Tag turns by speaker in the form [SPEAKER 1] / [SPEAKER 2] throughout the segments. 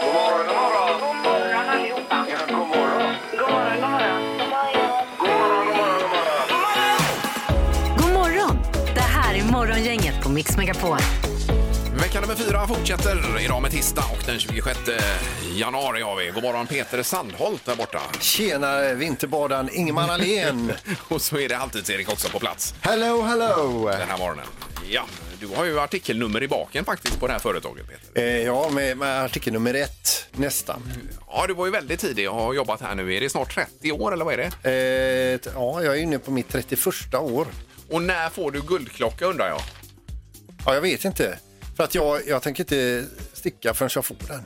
[SPEAKER 1] God morgon, god morgon. God morgon allihopa. Ja, god morgon. God morgon, god morgon. God morgon,
[SPEAKER 2] God
[SPEAKER 1] god morgon, god morgon.
[SPEAKER 2] morgon! Det här är Morgongänget på Mix Megapol.
[SPEAKER 3] Vecka nummer fyra fortsätter idag med tisdag och den 26 januari har vi. God morgon Peter Sandholt där borta.
[SPEAKER 4] Tjena vinterbadaren Ingemar Ahlén.
[SPEAKER 3] Och så är det alltid erik också på plats
[SPEAKER 4] Hello, hello.
[SPEAKER 3] den här morgonen. Ja, du har ju artikelnummer i baken faktiskt på det här företaget Peter.
[SPEAKER 4] Eh, ja, med, med artikel nummer ett nästan.
[SPEAKER 3] Ja, du var ju väldigt tidig och har jobbat här nu. Är det snart 30 år eller vad är det?
[SPEAKER 4] Eh, t- ja, jag är inne på mitt 31 år.
[SPEAKER 3] Och när får du guldklocka undrar jag?
[SPEAKER 4] Ja, jag vet inte. För att jag, jag tänker inte sticka förrän jag får den.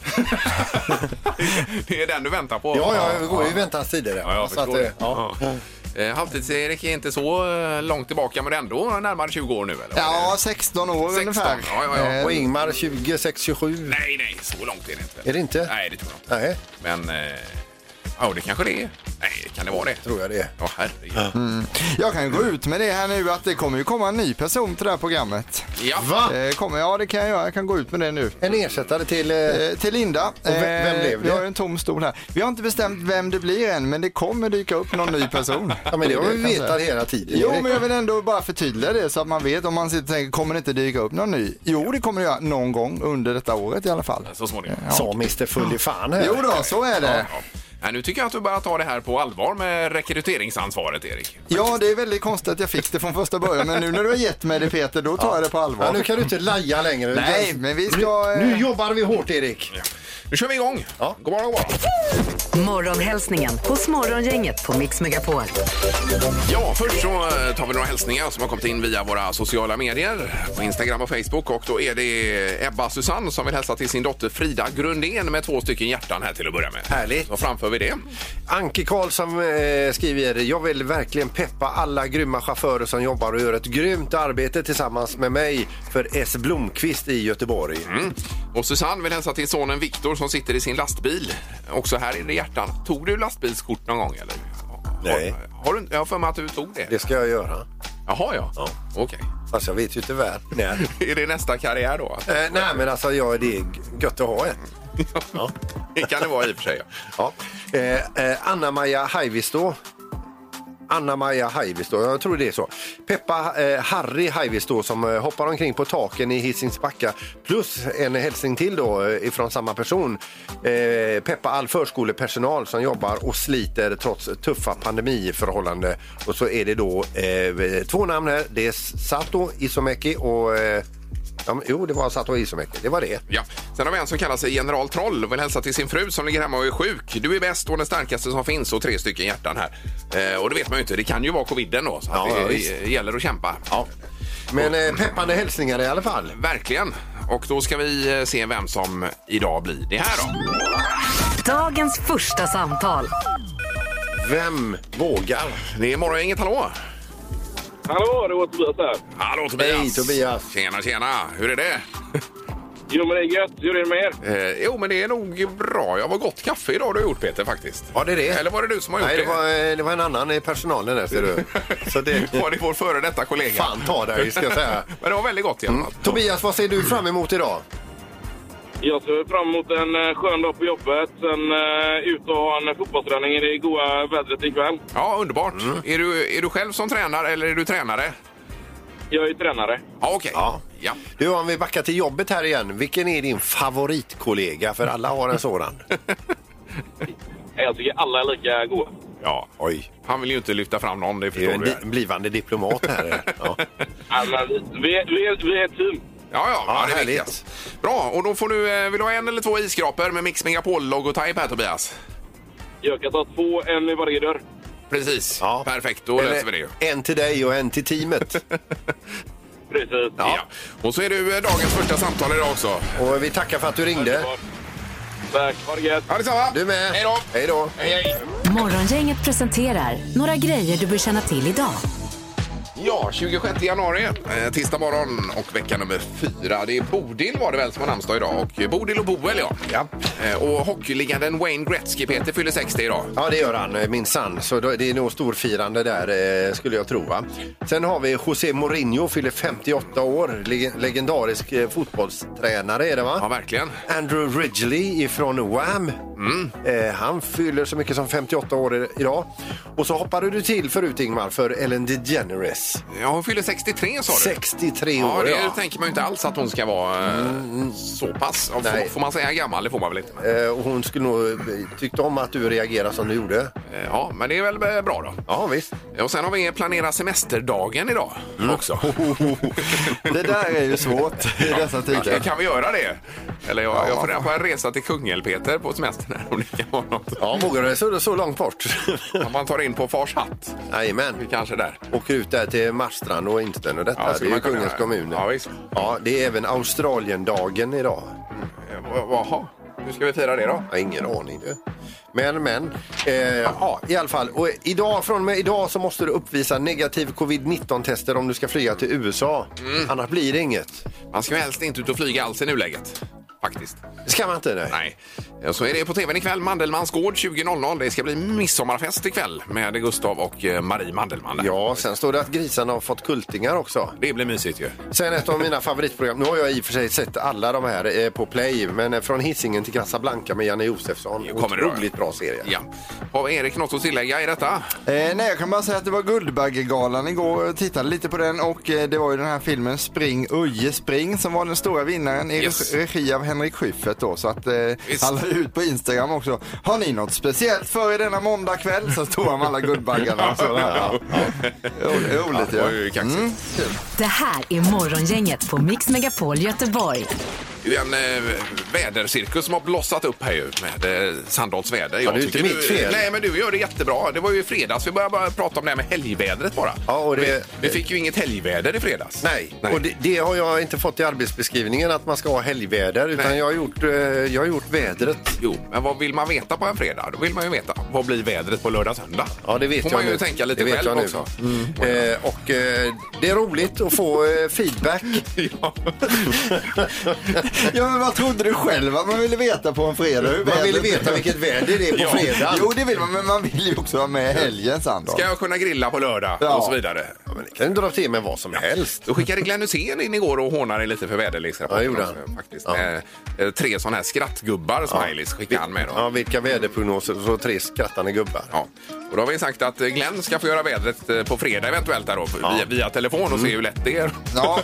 [SPEAKER 3] det är den du väntar på?
[SPEAKER 4] Ja, ja, jag går ju i väntans tider. där.
[SPEAKER 3] Ja, jag
[SPEAKER 4] Så att,
[SPEAKER 3] förstår
[SPEAKER 4] eh,
[SPEAKER 3] det. Ja. Eh, Halvtids-Erik är inte så eh, långt tillbaka men ändå närmare 20 år nu eller?
[SPEAKER 5] Ja, 16 år
[SPEAKER 3] 16,
[SPEAKER 5] ungefär.
[SPEAKER 3] ja, ja, ja.
[SPEAKER 5] Eh,
[SPEAKER 4] Och Ingmar 26, 27.
[SPEAKER 3] Nej, nej, så långt är det inte.
[SPEAKER 4] Är det inte?
[SPEAKER 3] Nej, det tror jag inte.
[SPEAKER 4] Nej,
[SPEAKER 3] Men... eh, Ja, det kanske det är. Nej, kan det vara det?
[SPEAKER 4] tror jag det är.
[SPEAKER 3] Ja, herregud.
[SPEAKER 5] Jag kan gå ut med det här nu att det kommer ju komma en ny person till det här programmet.
[SPEAKER 3] Ja.
[SPEAKER 5] Eh, kommer, ja, det kan jag göra. Jag kan gå ut med det nu.
[SPEAKER 4] En ersättare till... Eh,
[SPEAKER 5] Eh, till Linda.
[SPEAKER 4] vem- vem blev
[SPEAKER 5] Vi
[SPEAKER 4] det?
[SPEAKER 5] har ju en tom stol här. Vi har inte bestämt vem det blir än, men det kommer dyka upp någon ny person.
[SPEAKER 4] ja, men det har vi
[SPEAKER 5] kan jag säga.
[SPEAKER 4] vetat hela tiden.
[SPEAKER 5] Jo,
[SPEAKER 4] Erik.
[SPEAKER 5] men jag vill ändå bara förtydliga det så att man vet om man sitter och tänker, kommer det inte dyka upp någon ny? Jo, det kommer det göra någon gång under detta året i alla fall.
[SPEAKER 3] Så småningom.
[SPEAKER 4] Sa Mr Full i fan här.
[SPEAKER 5] Jo då, så är det.
[SPEAKER 3] Ja. Nej, nu tycker jag att du börjar ta det här på allvar med rekryteringsansvaret, Erik.
[SPEAKER 5] Ja, det är väldigt konstigt att jag fick det från första början, men nu när du har gett mig det Peter, då tar jag det på
[SPEAKER 4] Ja,
[SPEAKER 5] allvar.
[SPEAKER 4] nu kan du inte laja längre.
[SPEAKER 5] Nej, men vi ska... eh,
[SPEAKER 4] Nu jobbar vi hårt, Erik.
[SPEAKER 3] Nu kör vi igång! Ja. God morgon, god morgon.
[SPEAKER 2] Morgonhälsningen hos Morgongänget på Mix Megapol.
[SPEAKER 3] Ja, först så eh, tar vi några hälsningar som har kommit in via våra sociala medier. På Instagram och Facebook. Och då är det Ebba Susanne som vill hälsa till sin dotter Frida Grundén med två stycken hjärtan här till att börja med.
[SPEAKER 4] Härligt.
[SPEAKER 3] Då framför vi det.
[SPEAKER 4] Anke Karlsson eh, skriver, jag vill verkligen peppa alla grymma chaufförer som jobbar och gör ett grymt arbete tillsammans med mig för S Blomqvist i Göteborg.
[SPEAKER 3] Mm. Och Susanne vill hälsa till sonen Viktor som sitter i sin lastbil. Också här är det hjärtan. Tog du lastbilskort någon gång eller?
[SPEAKER 4] Nej.
[SPEAKER 3] Har, har du, jag har för mig att du tog det.
[SPEAKER 4] Det ska jag göra.
[SPEAKER 3] Jaha, ja. Okej.
[SPEAKER 4] Fast jag vet ju tyvärr när. eh,
[SPEAKER 3] Är det nästa karriär då?
[SPEAKER 4] nej men alltså jag, det är gött att ha en.
[SPEAKER 3] Det kan det vara i och för sig. ja.
[SPEAKER 4] Ja. Eh, eh, Anna-Maja Haivisto. Anna-Maja Haivisto, jag tror det är så. Peppa eh, Harry Haivisto som eh, hoppar omkring på taken i Hisings Backa. Plus en hälsning till då eh, ifrån samma person. Eh, peppa all förskolepersonal som jobbar och sliter trots tuffa pandemiförhållanden. Och så är det då eh, två namn här. Det är Sato Isomäki och... Eh, ja, men- jo, det var Sato Isomäki. Det var det.
[SPEAKER 3] Ja. Sen har vi en som kallar sig General Troll och vill hälsa till sin fru som ligger hemma och är sjuk. Du är bäst och den starkaste som finns och tre stycken hjärtan här. Eh, och det vet man ju inte, det kan ju vara coviden då. Så att
[SPEAKER 4] Ja, ja,
[SPEAKER 3] det
[SPEAKER 4] visst.
[SPEAKER 3] eh, gäller att kämpa.
[SPEAKER 4] Men eh, peppande hälsningar i alla fall.
[SPEAKER 3] Verkligen. Och då ska vi eh, se vem som idag blir det här då.
[SPEAKER 2] Dagens första samtal.
[SPEAKER 4] Vem vågar?
[SPEAKER 3] Det är morgongänget, hallå!
[SPEAKER 6] Hallå, det var Tobias här.
[SPEAKER 3] Hallå Tobias!
[SPEAKER 4] Hej, Tobias.
[SPEAKER 3] Tjena, tjena! Hur är det?
[SPEAKER 6] Jo, men det är gött. Hur är det med er?
[SPEAKER 3] Eh, jo, men det är nog bra. Jag var gott kaffe idag du har gjort Peter faktiskt.
[SPEAKER 4] Var det det?
[SPEAKER 3] Eller var det du som har gjort
[SPEAKER 4] Nej, det
[SPEAKER 3] det?
[SPEAKER 4] var, eh, det var en annan i personalen där ser du. Så det...
[SPEAKER 3] var det vår före detta kollega?
[SPEAKER 4] Fan Mm. ta dig ska jag säga.
[SPEAKER 3] men det var väldigt gott i alla fall.
[SPEAKER 4] Tobias, vad ser du fram emot idag?
[SPEAKER 6] Jag ser fram emot en eh, skön dag på jobbet, sen eh, ut och ha en fotbollsträning i det goa vädret ikväll.
[SPEAKER 3] Ja, underbart.
[SPEAKER 4] Mm.
[SPEAKER 3] Är, du, är du själv som tränar eller är du tränare?
[SPEAKER 6] Jag är ju tränare.
[SPEAKER 3] Ja, okej.
[SPEAKER 4] Ja.
[SPEAKER 3] Ja.
[SPEAKER 4] Du, om vi backar till jobbet här igen. Vilken är din favoritkollega? För alla har en sådan.
[SPEAKER 6] Jag tycker alla är lika goa.
[SPEAKER 3] ja.
[SPEAKER 4] Oj,
[SPEAKER 3] Han vill ju inte lyfta fram någon, det
[SPEAKER 4] det är ju
[SPEAKER 3] förstår
[SPEAKER 4] en
[SPEAKER 3] du.
[SPEAKER 4] di-
[SPEAKER 3] Ja,
[SPEAKER 4] blivande diplomat här. eh. Ja.
[SPEAKER 6] Ja, men vi, vi, är- vi, är- vi är ett team.
[SPEAKER 3] ja,
[SPEAKER 4] Ja,
[SPEAKER 3] det är
[SPEAKER 4] härligt.
[SPEAKER 3] viktigt. Bra, och då får du, eh, vill du ha en eller två isskrapor med Mix Megapol-logotyp här, Tobias?
[SPEAKER 6] Jag kan ta två, en i varje dörr.
[SPEAKER 3] Precis.
[SPEAKER 4] Ja.
[SPEAKER 3] Perfekt, då löser vi det ju.
[SPEAKER 4] En till dig och en till teamet.
[SPEAKER 6] Precis.
[SPEAKER 3] Ja. Och så är du eh, dagens första samtal idag också.
[SPEAKER 4] Och vi tackar för att du ringde.
[SPEAKER 6] Tack, ha det gött.
[SPEAKER 3] Ja, detsamma.
[SPEAKER 4] Du med.
[SPEAKER 3] Hej då.
[SPEAKER 4] Hej då.
[SPEAKER 3] Hej, hej.
[SPEAKER 2] Morgongänget presenterar några grejer du bör känna till idag.
[SPEAKER 3] Ja, 26 januari, eh, tisdag morgon och vecka nummer fyra. Det är Bodil var det väl som har namnsdag idag och eh, Bodil och Boel ja.
[SPEAKER 4] Ja.
[SPEAKER 3] Eh, Och hockeyligan Wayne Gretzky Peter fyller 60 idag.
[SPEAKER 4] Ja, det gör han, eh, min son. Så då- det är nog storfirande där, eh, skulle jag tro. Va? Sen har vi José Mourinho, fyller 58 år. Leg- legendarisk eh, fotbollstränare är det, va?
[SPEAKER 3] Ja, verkligen. Mm.
[SPEAKER 4] Andrew Ridgely ifrån Wham. Eh, han fyller så mycket som 58 år i- idag. Och så hoppade du till förut, Ingmar, för Ellen DeGeneres.
[SPEAKER 3] Ja, hon fyller 63 sa du.
[SPEAKER 4] 63
[SPEAKER 3] Ja,
[SPEAKER 4] år.
[SPEAKER 3] det
[SPEAKER 4] Ja. Mm.
[SPEAKER 3] tänker man ju inte alls att hon ska vara eh, så pass. Ja, Får,
[SPEAKER 4] Nej.
[SPEAKER 3] får man säga gammal? Det får man väl inte. men,
[SPEAKER 4] Eh, och hon skulle nog eh, tyckte om att du reagerade som du gjorde.
[SPEAKER 3] eh, Ja, men det är väl eh, bra då.
[SPEAKER 4] Ja, visst.
[SPEAKER 3] Och sen har vi planera semesterdagen idag
[SPEAKER 4] Mm.
[SPEAKER 3] också.
[SPEAKER 4] Oh.
[SPEAKER 5] Det där är ju svårt i dessa
[SPEAKER 3] Ja,
[SPEAKER 5] tider.
[SPEAKER 3] Kan vi göra det? Eller jag, jag funderar på en resa till Kungälv, Peter, på semestern. här, Om det kan vara något.
[SPEAKER 4] Ja, vågar du så, så långt bort?
[SPEAKER 3] Om man tar in på Fars hatt,
[SPEAKER 4] Jajamän.
[SPEAKER 3] kanske där.
[SPEAKER 4] Åker ut där till Marstrand och Insten och detta.
[SPEAKER 3] Ja,
[SPEAKER 4] det
[SPEAKER 3] skulle
[SPEAKER 4] är
[SPEAKER 3] man
[SPEAKER 4] ju
[SPEAKER 3] kunna
[SPEAKER 4] kungens
[SPEAKER 3] göra.
[SPEAKER 4] kommun.
[SPEAKER 3] Ja, visst.
[SPEAKER 4] Ja, det är även Australiendagen idag.
[SPEAKER 3] Eh, va- Jaha, hur ska vi fira det då?
[SPEAKER 4] Jag har ingen aning du. Men, men. Eh, ja, i alla fall. Och idag, från och med idag så måste du uppvisa negativ covid-19-tester om du ska flyga till USA.
[SPEAKER 3] Mm.
[SPEAKER 4] Annars blir det inget.
[SPEAKER 3] Man ska ju helst inte ut och flyga alls i nuläget. Faktiskt.
[SPEAKER 4] Det ska man inte. Nej.
[SPEAKER 3] Nej. Eh, Så är det på tvn ikväll, Mandelmans gård 20.00. Det ska bli midsommarfest ikväll med Gustav och eh, Marie Mandelmann. där.
[SPEAKER 4] Ja, sen står det att grisarna har fått kultingar också.
[SPEAKER 3] Det blir mysigt ju.
[SPEAKER 4] Sen ett av mina favoritprogram, nu har jag i och för sig sett alla de här eh, på Play, men eh, från Hisingen till Casablanca med Janne Josefsson.
[SPEAKER 3] Det kommer det
[SPEAKER 4] Otroligt
[SPEAKER 3] vara.
[SPEAKER 4] bra serie.
[SPEAKER 3] Ja. Har Erik något att tillägga i detta?
[SPEAKER 5] Eh, nej, jag kan bara säga att det var Guldbaggegalan igår. Jag tittade lite på den och eh, det var ju den här filmen Spring Uje Spring som var den stora vinnaren i
[SPEAKER 3] Yes.
[SPEAKER 5] regi av Henrik Schyffert då. Så att eh,
[SPEAKER 3] Visst.
[SPEAKER 5] han la ut på Instagram också. Har ni något speciellt för er denna måndag kväll? Så stod han med alla Guldbaggarna och sådär. Ja. Ro- Roligt
[SPEAKER 3] Det
[SPEAKER 5] ja.
[SPEAKER 3] var ju kaxigt.
[SPEAKER 2] Det här är Morgongänget på Mix Megapol Göteborg.
[SPEAKER 3] Det är en eh, vädercirkus som har blossat upp här ju med eh, Sandals väder. Jag
[SPEAKER 4] det är ju inte
[SPEAKER 3] tycker
[SPEAKER 4] mitt
[SPEAKER 3] du,
[SPEAKER 4] fel.
[SPEAKER 3] Nej, men du gör det jättebra. Det var ju i fredags. Vi började bara prata om det här med helgvädret bara.
[SPEAKER 4] Ja, och det-
[SPEAKER 3] vi, vi fick ju inget helgväder i fredags.
[SPEAKER 4] Nej,
[SPEAKER 3] Nej.
[SPEAKER 4] och det, det har jag inte fått i arbetsbeskrivningen att man ska ha helgväder utan
[SPEAKER 3] Nej.
[SPEAKER 4] jag har, gjort, eh, jag har gjort vädret.
[SPEAKER 3] Jo, men vad vill man veta på en fredag? Då vill man ju veta vad blir vädret på lördag, söndag?
[SPEAKER 4] Ja, det vet
[SPEAKER 3] Får
[SPEAKER 4] jag
[SPEAKER 3] man ju
[SPEAKER 4] nu.
[SPEAKER 3] tänka lite
[SPEAKER 4] det vet
[SPEAKER 3] själv
[SPEAKER 4] jag nu.
[SPEAKER 3] också.
[SPEAKER 4] Eh, och eh, det är roligt att få eh, feedback.
[SPEAKER 3] Ja.
[SPEAKER 5] ja men vad trodde du själv att man ville veta på en fredag? Hur
[SPEAKER 4] Man vill
[SPEAKER 5] vädret-
[SPEAKER 4] veta vilket väder det är
[SPEAKER 3] Ja.
[SPEAKER 4] på fredag.
[SPEAKER 5] Jo det vill man, men man vill ju också vara med i helgen sen då.
[SPEAKER 3] Ska jag kunna grilla på lördag?
[SPEAKER 5] Ja.
[SPEAKER 3] Och så vidare.
[SPEAKER 4] Ja, men det kan du dra till med vad som helst.
[SPEAKER 3] Då skickade Glenn Hysén in igår och hånade lite för väderleksrapporten.
[SPEAKER 4] Ja, gjorde han.
[SPEAKER 3] också, Faktiskt.
[SPEAKER 4] Ja.
[SPEAKER 3] Eh, eh, tre sådana här skrattgubbar, smileys, skickade han med. Då.
[SPEAKER 4] Ja, vilka väderprognoser och så tre skrattande gubbar.
[SPEAKER 3] Ja. Och då har vi sagt att eh, Glenn ska få göra vädret eh, på fredag eventuellt där då, via, via telefon och se hur lätt det är.
[SPEAKER 5] Ja,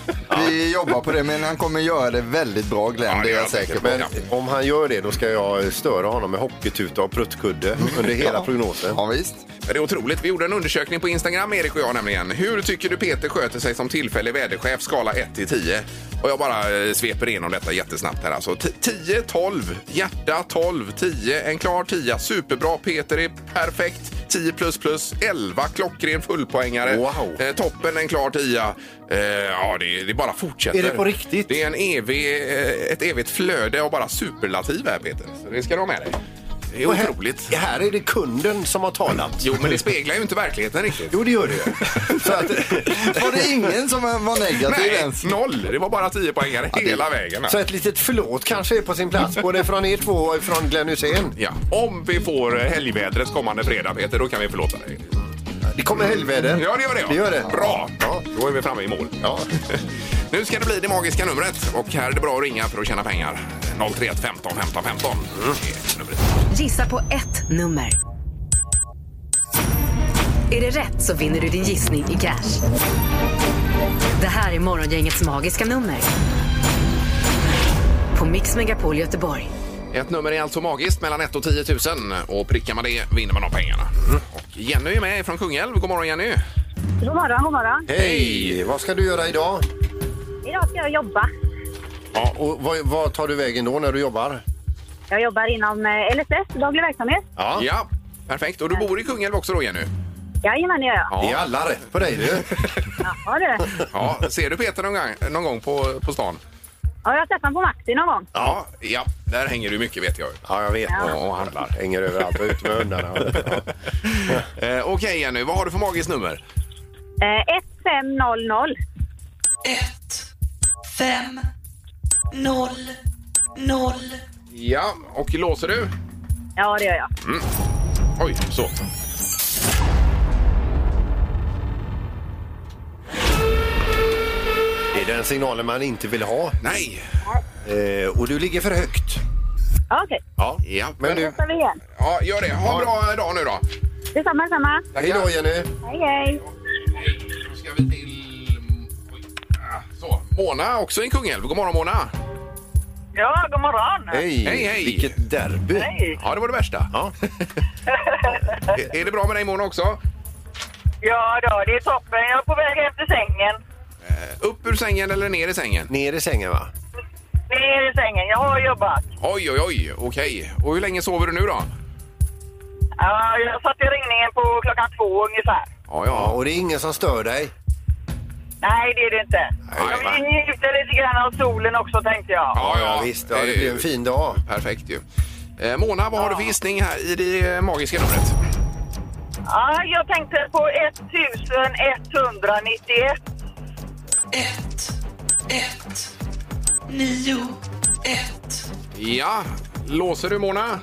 [SPEAKER 5] vi jobbar på det men han kommer göra det väldigt bra Glenn,
[SPEAKER 3] Ja,
[SPEAKER 5] det är
[SPEAKER 3] ja,
[SPEAKER 5] jag säker på.
[SPEAKER 4] Men om han gör det då ska jag störa honom med hockeytuta och pruttkudde under hela prognosen.
[SPEAKER 5] Ja, visst.
[SPEAKER 3] Men Det är otroligt. Vi gjorde en undersökning på Instagram, Erik och jag nämligen. Hur tycker du Peter sköter sig som tillfällig väderchef, skala 1 till 10? Och jag bara eh, sveper igenom detta jättesnabbt här alltså. T- 10, 12, hjärta 12, 10, en klar 10, superbra, Peter är perfekt. 10 plus plus, 11, klockren fullpoängare.
[SPEAKER 4] Wow.
[SPEAKER 3] Eh, toppen en klar 10. Eh, ja, det, det bara fortsätter.
[SPEAKER 4] Är det på riktigt?
[SPEAKER 3] Det är en evig, eh, ett evigt flöde av bara superlativ här Peter. Så det ska du ha med dig. Det är
[SPEAKER 4] Och här-
[SPEAKER 3] otroligt.
[SPEAKER 4] Här är det kunden som har talat.
[SPEAKER 3] Jo, men det speglar ju inte verkligheten riktigt.
[SPEAKER 4] Jo, det gör det ju. Så att,
[SPEAKER 5] Var det ingen som var
[SPEAKER 4] Alltså,
[SPEAKER 5] negativ
[SPEAKER 3] Nej,
[SPEAKER 5] ens?
[SPEAKER 3] noll! Det var bara 10 poängare hela vägen. här.
[SPEAKER 4] så ett litet förlåt kanske är på sin plats, både från er två och från Glenn Hussein.
[SPEAKER 3] Ja. Om vi får eh, helgvädret kommande fredag, Peter, då kan vi förlåta dig.
[SPEAKER 4] Det kommer helvete.
[SPEAKER 3] Ja, det gör det. Ja.
[SPEAKER 4] Det gör det.
[SPEAKER 3] Bra!
[SPEAKER 4] Ja.
[SPEAKER 3] Då är vi framme i mål.
[SPEAKER 4] Ja.
[SPEAKER 3] Nu ska det bli det magiska numret. Och här är det bra att ringa för att tjäna pengar. 031 15 15 15. Det är numret.
[SPEAKER 2] Gissa på ett nummer. Är det rätt så vinner du din gissning i cash. Det här är Morgongängets magiska nummer. På Mix Megapol Göteborg.
[SPEAKER 3] Ett nummer är alltså magiskt, mellan 1 och 10 000. Och prickar man det vinner man de pengarna. Och Jenny är med från Kungälv. God morgon, Jenny!
[SPEAKER 7] God morgon, god morgon.
[SPEAKER 4] Hej! Vad ska du göra idag?
[SPEAKER 7] Idag ska jag jobba.
[SPEAKER 4] Ja, och vad, vad tar du vägen då när du jobbar?
[SPEAKER 7] Jag jobbar inom eh, LSS, daglig verksamhet.
[SPEAKER 4] Ja.
[SPEAKER 3] Ja, perfekt. Och du bor i Kungälv också då, Jenny?
[SPEAKER 7] Jajamän, det gör jag.
[SPEAKER 4] Det är alla rätt på dig du.
[SPEAKER 7] Ja, du.
[SPEAKER 3] Ja, ser du Peter någon gång, någon gång på, på stan?
[SPEAKER 7] Ja, jag har sett honom på Maxi någon gång.
[SPEAKER 3] Ja, ja, där hänger du mycket vet jag.
[SPEAKER 4] Ja, jag vet.
[SPEAKER 3] Ja, och handlar.
[SPEAKER 4] Hänger överallt och ut med hundarna.
[SPEAKER 3] Eh, Okej Jenny, vad har du för magiskt nummer?
[SPEAKER 7] Eh, fem noll noll.
[SPEAKER 8] ett fem noll noll
[SPEAKER 3] Ja, och låser du?
[SPEAKER 7] Ja, det gör jag.
[SPEAKER 3] Oj, så.
[SPEAKER 4] Det är den signalen man inte vill ha.
[SPEAKER 3] Nej.
[SPEAKER 4] Eh, och du ligger för högt.
[SPEAKER 7] Ja, Okej,
[SPEAKER 3] Ja. ja.
[SPEAKER 4] Men du,
[SPEAKER 7] då tar vi igen.
[SPEAKER 3] Ja, gör det. Ha en bra eh, dag nu då.
[SPEAKER 7] Detsamma, detsamma.
[SPEAKER 4] hej då Jenny.
[SPEAKER 7] Hej, hej.
[SPEAKER 3] Då ska vi till... oj, ah, Så, Mona också i Kungälv. God morgon Mona.
[SPEAKER 9] Ja, god morgon.
[SPEAKER 4] Hej.
[SPEAKER 3] Hej, hej.
[SPEAKER 4] Vilket derby.
[SPEAKER 9] Hej.
[SPEAKER 3] Ja, det var det värsta.
[SPEAKER 4] Ja.
[SPEAKER 3] Är- Är det bra med dig Mona också?
[SPEAKER 9] Ja, då, det är toppen. Jag är på väg hem till sängen.
[SPEAKER 3] Upp ur sängen eller ner i sängen?
[SPEAKER 4] Ner i sängen va?
[SPEAKER 9] Ner i sängen. Jag har jobbat.
[SPEAKER 3] Oj, oj, oj. Okej. Och hur länge sover du nu då?
[SPEAKER 9] Ja, jag satt i ringningen på klockan två ungefär.
[SPEAKER 3] Ja,
[SPEAKER 4] Ja,
[SPEAKER 3] ja.
[SPEAKER 4] och det är ingen som stör dig.
[SPEAKER 9] Nej, det är det inte.
[SPEAKER 3] Nej,
[SPEAKER 9] Jag
[SPEAKER 3] va?
[SPEAKER 9] vill njuta lite grann av solen också, tänkte jag.
[SPEAKER 3] Ja, ja. Eh,
[SPEAKER 4] visst. Ja, det blir en fin dag.
[SPEAKER 3] Perfekt ju. Eh, Mona, vad har du för gissning här i det eh, magiska numret?
[SPEAKER 9] Ja, jag tänkte på 1191.
[SPEAKER 8] ett ett nio ett
[SPEAKER 3] Ja. Låser du Mona?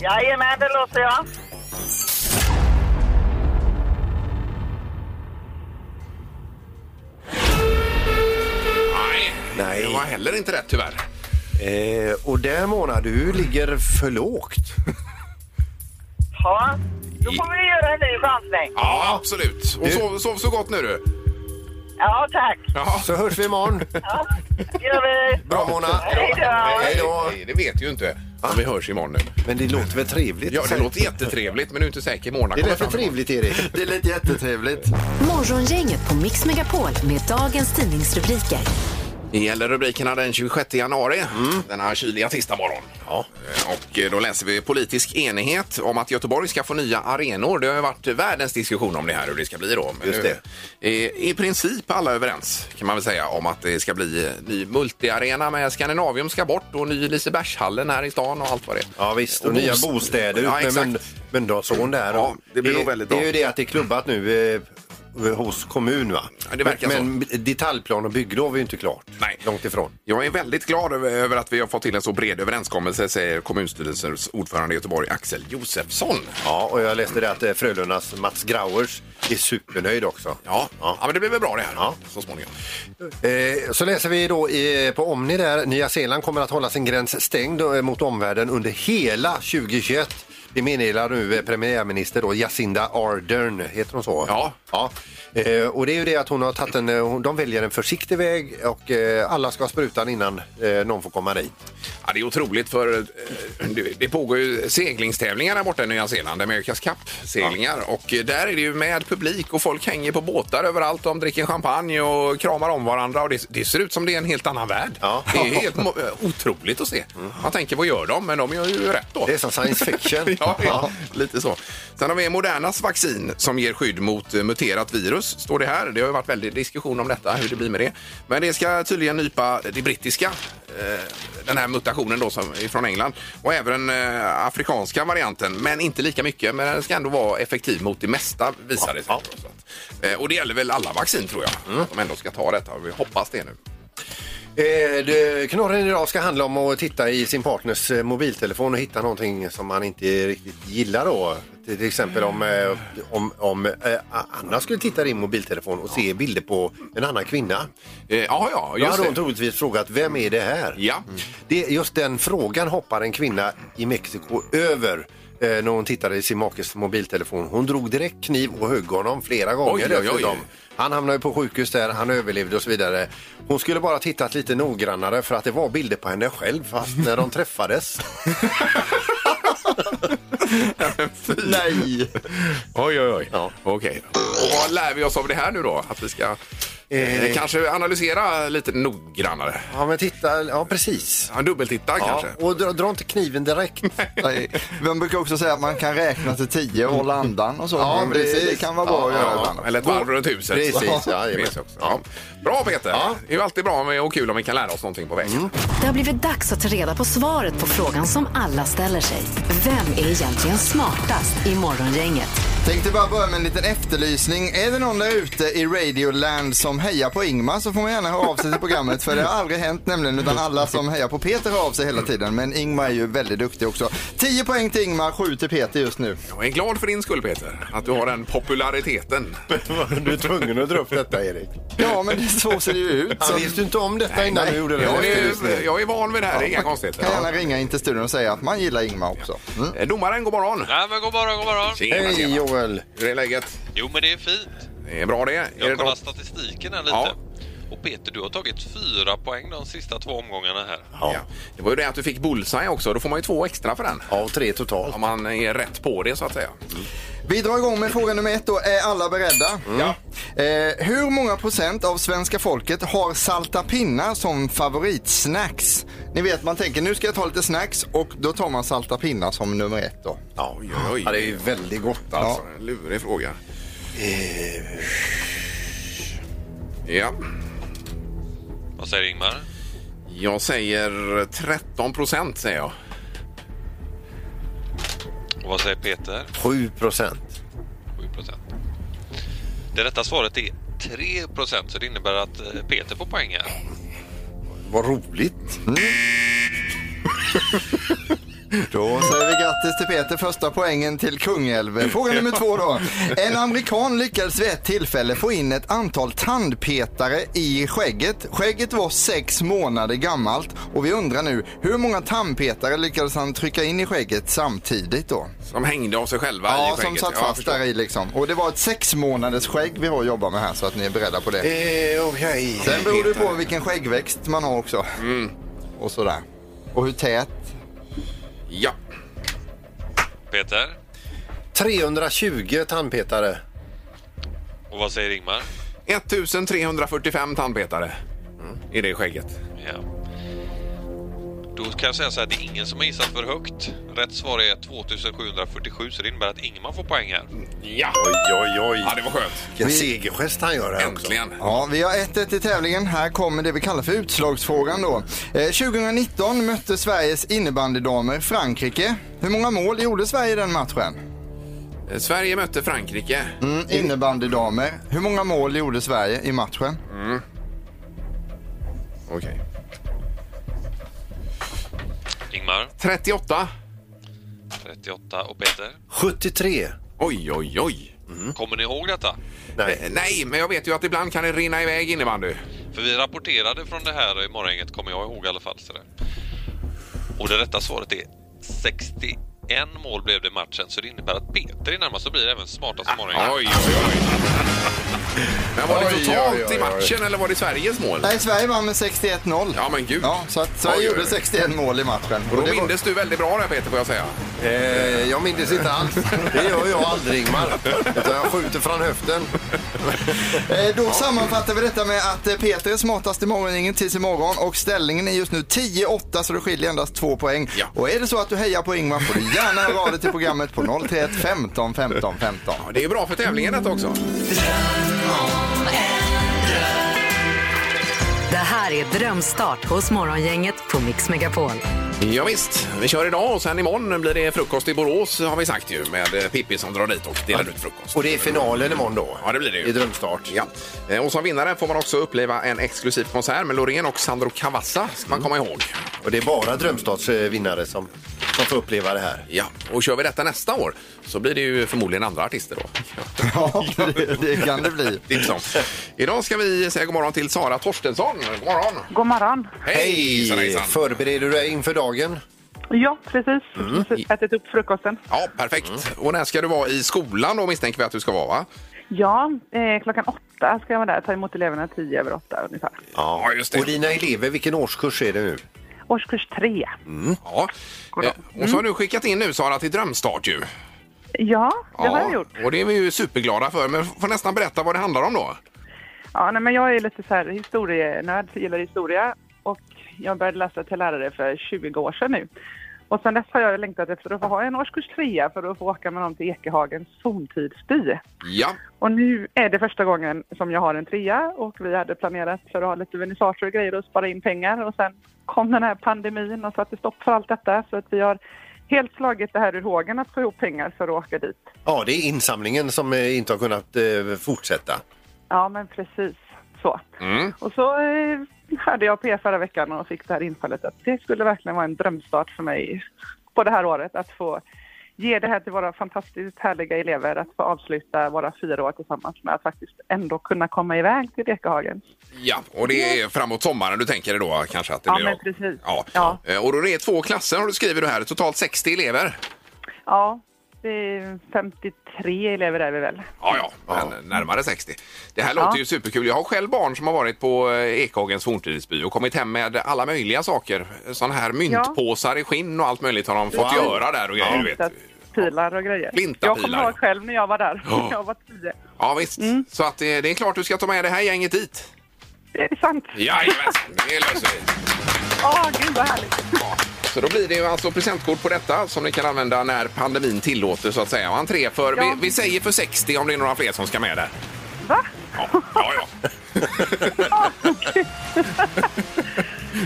[SPEAKER 9] Jajamän, det låter jag.
[SPEAKER 3] Nej.
[SPEAKER 4] Nej.
[SPEAKER 3] Det var heller inte rätt tyvärr.
[SPEAKER 4] Eh, och där Mona, du ligger för lågt.
[SPEAKER 9] Ja, då får vi göra en ny chansning.
[SPEAKER 3] Ja, absolut. Och
[SPEAKER 4] Du-
[SPEAKER 3] sov, sov så gott nu du.
[SPEAKER 9] Ja, tack.
[SPEAKER 3] Ja.
[SPEAKER 4] Så hörs vi imorgon.
[SPEAKER 9] Ja, det gör vi.
[SPEAKER 4] Bra Mona.
[SPEAKER 9] Hej då.
[SPEAKER 4] Hej då.
[SPEAKER 3] Nej, det vet ju inte om vi hörs imorgon nu.
[SPEAKER 4] Men det låter väl trevligt?
[SPEAKER 3] Ja, det låter jättetrevligt men du är inte säker Mona
[SPEAKER 4] Det
[SPEAKER 3] kommer
[SPEAKER 4] lät väl
[SPEAKER 3] fram.
[SPEAKER 4] trevligt Erik?
[SPEAKER 5] Det lät jättetrevligt.
[SPEAKER 2] Morgongänget på Mix Megapol med dagens tidningsrubriker.
[SPEAKER 3] Det gäller rubrikerna den 26 januari,
[SPEAKER 4] Mm.
[SPEAKER 3] denna kyliga tisdagmorgon. Ja. Och eh, då läser vi politisk enighet om att Göteborg ska få nya arenor. Det har ju varit världens diskussion om det här hur det ska bli då. Men
[SPEAKER 4] Just
[SPEAKER 3] nu är I princip alla överens kan man väl säga om att det ska bli eh, ny multiarena med Scandinavium ska bort och ny Lisebergshallen här i stan och allt vad det är.
[SPEAKER 4] Ja visst, och,
[SPEAKER 3] Och
[SPEAKER 4] nya
[SPEAKER 3] bost-
[SPEAKER 4] bostäder
[SPEAKER 3] Ja,
[SPEAKER 4] ut med
[SPEAKER 3] exakt.
[SPEAKER 4] Mölnd- Mölndalsån där.
[SPEAKER 3] Ja,
[SPEAKER 4] Och
[SPEAKER 3] det blir nog väldigt
[SPEAKER 4] Det är
[SPEAKER 3] bra.
[SPEAKER 4] ju det att det är klubbat nu eh, hos kommun va?
[SPEAKER 3] Ja, det verkar så.
[SPEAKER 4] men, men detaljplan och bygglov är ju inte klart.
[SPEAKER 3] Nej.
[SPEAKER 4] Långt ifrån.
[SPEAKER 3] Jag är väldigt glad över- över att vi har fått till en så bred överenskommelse, säger kommunstyrelsens ordförande i Göteborg, Axel Josefsson.
[SPEAKER 4] Ja, och jag läste det att eh, Frölundas Mats Grauers är supernöjd också.
[SPEAKER 3] Ja, ja. men det blir väl bra det här
[SPEAKER 4] Ja.
[SPEAKER 3] så småningom.
[SPEAKER 4] Eh, Så läser vi då i, på Omni där, Nya Zeeland kommer att hålla sin gräns stängd eh, mot omvärlden under hela 2021. Det meddelar nu eh, premiärminister då, Jacinda Ardern, heter hon så?
[SPEAKER 3] Ja.
[SPEAKER 4] ja. Eh, Och det är ju det att hon har tagit en, eh, hon- de väljer en försiktig väg och eh, alla ska ha sprutan innan eh, någon får komma dit.
[SPEAKER 3] Ja, det är otroligt för eh, det- det pågår ju seglingstävlingar där borta i Nya Zeeland, Amerikas Cup-seglingar. Och eh, där är det ju med publik och folk hänger på båtar överallt. De dricker champagne och kramar om varandra och det, det ser ut som det är en helt annan värld.
[SPEAKER 4] Ja. Mm.
[SPEAKER 3] Det är helt mo- eh, otroligt att se. Man tänker vad gör de? Men de gör ju rätt då.
[SPEAKER 4] Det är som science fiction.
[SPEAKER 3] ja, ja, lite så. Sen har vi Modernas vaccin som ger skydd mot eh, muterat virus, står det här. Det har ju varit väldigt diskussion om detta, hur det blir med det. Men det ska tydligen nypa det brittiska, eh, den här mutationen då som är från England och även den eh, afrikanska varianten, men inte lika mycket. Men den ska ändå vara effektiv mot det mesta, visar det sig. Så att, eh, Och det gäller väl alla vaccin tror jag, att de ändå ska ta detta. Vi hoppas det nu.
[SPEAKER 4] Eh, det- Knorren idag ska handla om att titta i sin partners eh, mobiltelefon och hitta någonting som man inte riktigt gillar då. Till till exempel om, eh, om, om eh, A- Anna skulle titta i din mobiltelefon och se bilder på en annan kvinna.
[SPEAKER 3] Eh, Ja, ja, Mm.
[SPEAKER 4] Då
[SPEAKER 3] just
[SPEAKER 4] hade
[SPEAKER 3] det.
[SPEAKER 4] hon troligtvis frågat, vem är det här?
[SPEAKER 3] Ja.
[SPEAKER 4] Det, just den frågan hoppar en kvinna i Mexiko över eh, när hon tittade i sin makes mobiltelefon. Hon drog direkt kniv och högg honom flera gånger
[SPEAKER 3] oj, oj.
[SPEAKER 4] dessutom. Han hamnade ju på sjukhus där, han överlevde och så vidare. Hon skulle bara tittat lite noggrannare för att det var bilder på henne själv fast när de träffades.
[SPEAKER 5] Nej.
[SPEAKER 3] Oj, oj, oj. Okej. Och vad lär vi oss av det här nu då? Att vi ska eh,
[SPEAKER 4] Eh.
[SPEAKER 3] kanske analysera lite noggrannare.
[SPEAKER 4] Ja men titta, ja precis.
[SPEAKER 3] Ja, dubbeltitta
[SPEAKER 4] Ja,
[SPEAKER 3] kanske.
[SPEAKER 4] och dra, dra inte kniven direkt.
[SPEAKER 5] Nej. Man brukar också säga att man kan räkna till tio och hålla andan och så.
[SPEAKER 4] Ja,
[SPEAKER 5] Men det,
[SPEAKER 4] precis.
[SPEAKER 5] det kan vara bra att
[SPEAKER 4] Ja,
[SPEAKER 5] göra
[SPEAKER 4] ja.
[SPEAKER 5] ibland.
[SPEAKER 3] Eller ett varv runt huset.
[SPEAKER 4] Precis, ja,
[SPEAKER 3] Det
[SPEAKER 4] jajamän.
[SPEAKER 3] finns också. ja. Bra Peter! Det är ju alltid bra med, och kul om vi kan lära oss någonting på vägen.
[SPEAKER 4] Mm.
[SPEAKER 2] Det har blivit dags att ta reda på svaret på frågan som alla ställer sig. Vem är egentligen smartast i Morgongänget?
[SPEAKER 5] Tänkte bara börja med en liten efterlysning. Är det någon där ute i Radioland som hejar på Ingmar så får man gärna höra av sig till programmet för det har aldrig hänt nämligen utan alla som hejar på Peter hör av sig hela tiden. Men Ingmar är ju väldigt duktig också. 10 poäng till Ingmar, 7 till Peter just nu.
[SPEAKER 3] Jag är glad för din skull Peter, att du har den populariteten.
[SPEAKER 4] Du är tvungen att dra upp detta, Erik.
[SPEAKER 5] Ja men det så ser det ju ut. Så
[SPEAKER 4] Han visste ju inte om detta innan du gjorde det.
[SPEAKER 3] Jag är, jag är van vid det här, det är inga konstigheter.
[SPEAKER 5] kan gärna ringa in till studion och säga att man gillar Ingmar också. Mm.
[SPEAKER 3] Eh, Domaren, god morgon!
[SPEAKER 1] Nej, men god morgon, god morgon.
[SPEAKER 3] Tjena,
[SPEAKER 4] Hej
[SPEAKER 3] tjena.
[SPEAKER 4] Joel!
[SPEAKER 3] Hur är läget?
[SPEAKER 1] Jo, men det är fint.
[SPEAKER 3] Det är bra det. Är det
[SPEAKER 1] Jag kollar
[SPEAKER 3] något-
[SPEAKER 1] statistiken här lite.
[SPEAKER 3] Ja.
[SPEAKER 1] Och Peter, du har tagit fyra poäng de sista två omgångarna här.
[SPEAKER 3] Ja. Det var ju det att du fick bullseye också, då får man ju två extra för den.
[SPEAKER 4] Ja, tre totalt.
[SPEAKER 3] Om man är rätt på det så att säga.
[SPEAKER 5] Vi drar igång med fråga nummer ett då. Är alla beredda? Ja. Eh, hur många procent av svenska folket har salta pinnar som favoritsnacks? Ni vet, man tänker nu ska jag ta lite snacks och då tar man salta pinnar som nummer ett då.
[SPEAKER 3] Ja, oj, oj.
[SPEAKER 4] Ja, det är ju väldigt gott alltså.
[SPEAKER 3] Alltså, en lurig fråga. Ja,
[SPEAKER 1] Vad säger Ingmar?
[SPEAKER 3] jag säger 13 procent säger jag.
[SPEAKER 1] Och vad säger Peter?
[SPEAKER 4] 7 procent.
[SPEAKER 1] 7 procent. Det rätta svaret är 3 procent, så det innebär att eh, Peter får poäng här.
[SPEAKER 4] Vad roligt.
[SPEAKER 3] Mm.
[SPEAKER 5] Då säger vi grattis till Peter, första poängen till Kungälv. Fråga nummer två då. En amerikan lyckades vid ett tillfälle få in ett antal tandpetare i skägget. Skägget var sex månader gammalt och vi undrar nu hur många tandpetare lyckades han trycka in i skägget samtidigt då?
[SPEAKER 3] Som hängde av sig själva
[SPEAKER 5] Ja,
[SPEAKER 3] i
[SPEAKER 5] som
[SPEAKER 3] skägget.
[SPEAKER 5] satt
[SPEAKER 3] Ja, jag
[SPEAKER 5] fast
[SPEAKER 3] förstår.
[SPEAKER 5] där i liksom. Och det var ett sex månaders skägg vi har att jobba med här så att ni är beredda på det.
[SPEAKER 4] Eh, Okej.
[SPEAKER 5] Sen beror det på vilken skäggväxt man har också.
[SPEAKER 3] Mm.
[SPEAKER 5] Och sådär. Och hur tät.
[SPEAKER 3] Ja.
[SPEAKER 1] Peter?
[SPEAKER 4] 320 tandpetare.
[SPEAKER 1] Och vad säger Ingmar?
[SPEAKER 3] 1345 tandpetare i det skägget.
[SPEAKER 1] Ja. Då kan jag säga så här, det är ingen som har gissat för högt. Rätt svar är 2747, så det innebär att Ingmar får poäng här.
[SPEAKER 3] Ja,
[SPEAKER 4] Oj, oj, oj.
[SPEAKER 3] ja det var skönt.
[SPEAKER 4] Vilken segergest han gör här också.
[SPEAKER 3] Äntligen.
[SPEAKER 5] Ja, vi har 1-1 i tävlingen. Här kommer det vi kallar för utslagsfrågan då. Eh, 2019 mötte Sveriges innebandydamer Frankrike. Hur många mål gjorde Sverige i den matchen?
[SPEAKER 3] Eh, Sverige mötte Frankrike.
[SPEAKER 5] Mm, innebandydamer. Hur många mål gjorde Sverige i matchen?
[SPEAKER 3] Okej.
[SPEAKER 1] Ingmar,
[SPEAKER 3] 38.
[SPEAKER 1] 38 och Peter.
[SPEAKER 4] 73.
[SPEAKER 3] Oj, oj, oj.
[SPEAKER 1] Kommer ni ihåg detta?
[SPEAKER 4] Nej.
[SPEAKER 3] Eh, Nej, men jag vet ju att ibland kan det rinna iväg innebandy.
[SPEAKER 1] För vi rapporterade från det här i morgongänget, kommer jag ihåg i alla fall. Så det. Och det rätta svaret är 61 mål blev det i matchen, så det innebär att Peter är närmast och blir även smartast i morgongänget.
[SPEAKER 3] Oj, oj, oj. Men var det
[SPEAKER 4] Oj,
[SPEAKER 3] totalt
[SPEAKER 4] oj, oj,
[SPEAKER 3] i matchen eller var det Sveriges mål?
[SPEAKER 5] Nej, Sverige vann med 61-0.
[SPEAKER 3] Ja, men gud.
[SPEAKER 5] Ja, så att Sverige
[SPEAKER 3] Oj, oj, oj.
[SPEAKER 5] gjorde 61 mål i matchen.
[SPEAKER 3] Och då
[SPEAKER 5] det var-
[SPEAKER 3] mindes du väldigt bra där Peter får jag säga.
[SPEAKER 4] Eh, jag minns inte alls. Det gör jag aldrig, Ingmar. Utan jag skjuter från höften.
[SPEAKER 5] Eh, Då sammanfattar vi detta med att eh, Peter är smartast i morgoningen tills imorgon och ställningen är just nu 10-8 så det skiljer endast två poäng.
[SPEAKER 3] Ja.
[SPEAKER 5] Och är det så att du hejar på Ingmar får du gärna höra av dig till programmet på 031 15 15 15.
[SPEAKER 3] Ja, det är bra för tävlingen detta också.
[SPEAKER 2] Det här är Drömstart hos Morgongänget på Mix Megapol.
[SPEAKER 3] Ja, visst, vi kör idag och sen imorgon blir det frukost i Borås har vi sagt ju med eh, Pippi som drar dit och delar ut frukost.
[SPEAKER 4] Och det är finalen imorgon då.
[SPEAKER 3] Ja, det blir det ju.
[SPEAKER 4] I drömstart.
[SPEAKER 3] Ja. Eh, Och som vinnare får man också uppleva en exklusiv konsert med Loreen och Sandro Cavazza, ska man komma ihåg.
[SPEAKER 4] Och det är bara drömstarts eh, vinnare som, som får uppleva det här.
[SPEAKER 3] Ja, och kör vi detta nästa år så blir det ju förmodligen andra artister då.
[SPEAKER 5] Ja, det, det kan det bli.
[SPEAKER 3] Tips om. Idag ska vi säga god morgon till Sara Torstensson. God morgon!
[SPEAKER 7] God morgon.
[SPEAKER 3] Hej! hejsan, hejsan.
[SPEAKER 4] Förbereder du dig inför dagen?
[SPEAKER 7] Ja, precis. Precis Ätit upp frukosten.
[SPEAKER 3] Ja, perfekt. Och när ska du vara i skolan då misstänker vi att du ska vara va?
[SPEAKER 7] Ja, eh, klockan åtta ska jag vara där. Ta emot eleverna tio över åtta ungefär.
[SPEAKER 3] Ja, just
[SPEAKER 4] Och dina elever, vilken årskurs är det nu?
[SPEAKER 7] Årskurs tre.
[SPEAKER 3] Ja. Eh, Och
[SPEAKER 7] Mm.
[SPEAKER 3] så har du skickat in nu Sara till Drömstart ju.
[SPEAKER 7] Ja, det har jag gjort.
[SPEAKER 3] Och det är vi ju superglada för. Men får nästan berätta vad det handlar om då.
[SPEAKER 7] Ja, nej, men jag är lite så här historienörd, så jag gillar historia. Och jag började läsa till lärare för 20 år sedan nu. Och sen dess har jag längtat efter att få ha en årskurs trea för att få åka med dem till Ekehagens forntidsby.
[SPEAKER 3] Ja,
[SPEAKER 7] Och nu är det första gången som jag har en trea och vi hade planerat för att ha lite vernissager och grejer och spara in pengar och sen kom den här pandemin och satte stopp för allt detta så att vi har helt slagit det här ur hågen att få ihop pengar för att åka dit.
[SPEAKER 4] Ja, det är insamlingen som eh, inte har kunnat eh, fortsätta.
[SPEAKER 7] Ja, men precis så. Och så eh, hörde jag på er förra veckan och fick det här infallet att det skulle verkligen vara en drömstart för mig på det här året att få ge det här till våra fantastiskt härliga elever att få avsluta våra fyra år tillsammans med att faktiskt ändå kunna komma iväg till Lekahagen.
[SPEAKER 3] Ja, och det är framåt sommaren du tänker dig då kanske att det
[SPEAKER 7] Ja,
[SPEAKER 3] blir
[SPEAKER 7] men
[SPEAKER 3] av.
[SPEAKER 7] precis.
[SPEAKER 3] Ja.
[SPEAKER 7] Ja.
[SPEAKER 3] Eh, Och då är det två klasser har du skrivit det här, totalt 60 elever.
[SPEAKER 7] Ja, det är 53 elever är vi väl.
[SPEAKER 3] Ja, ja, men närmare 60. Det här låter
[SPEAKER 7] Ja.
[SPEAKER 3] ju superkul. Jag har själv barn som har varit på eh, Ekhagens forntidsby och kommit hem med alla möjliga saker. Sådana här myntpåsar i skinn och allt möjligt har de fått
[SPEAKER 7] Wow.
[SPEAKER 3] göra där och grejer, du vet.
[SPEAKER 7] Pilar och grejer.
[SPEAKER 3] Flintapilar.
[SPEAKER 7] Jag kommer ihåg själv när jag var där.
[SPEAKER 3] Ja.
[SPEAKER 7] Jag var tio.
[SPEAKER 3] Ja, visst.
[SPEAKER 7] Mm.
[SPEAKER 3] Så att eh, det, det är klart du ska ta med det här gänget dit.
[SPEAKER 7] Det är sant.
[SPEAKER 3] Jajamän, det löser vi.
[SPEAKER 7] Åh, gud vad härligt.
[SPEAKER 3] Så då blir det ju alltså presentkort på detta som ni kan använda när pandemin tillåter så att säga. Och entré för,
[SPEAKER 7] Ja.
[SPEAKER 3] vi, vi säger för 60 om det är några fler som ska med där.
[SPEAKER 7] Va?
[SPEAKER 3] Ja, ja. ja.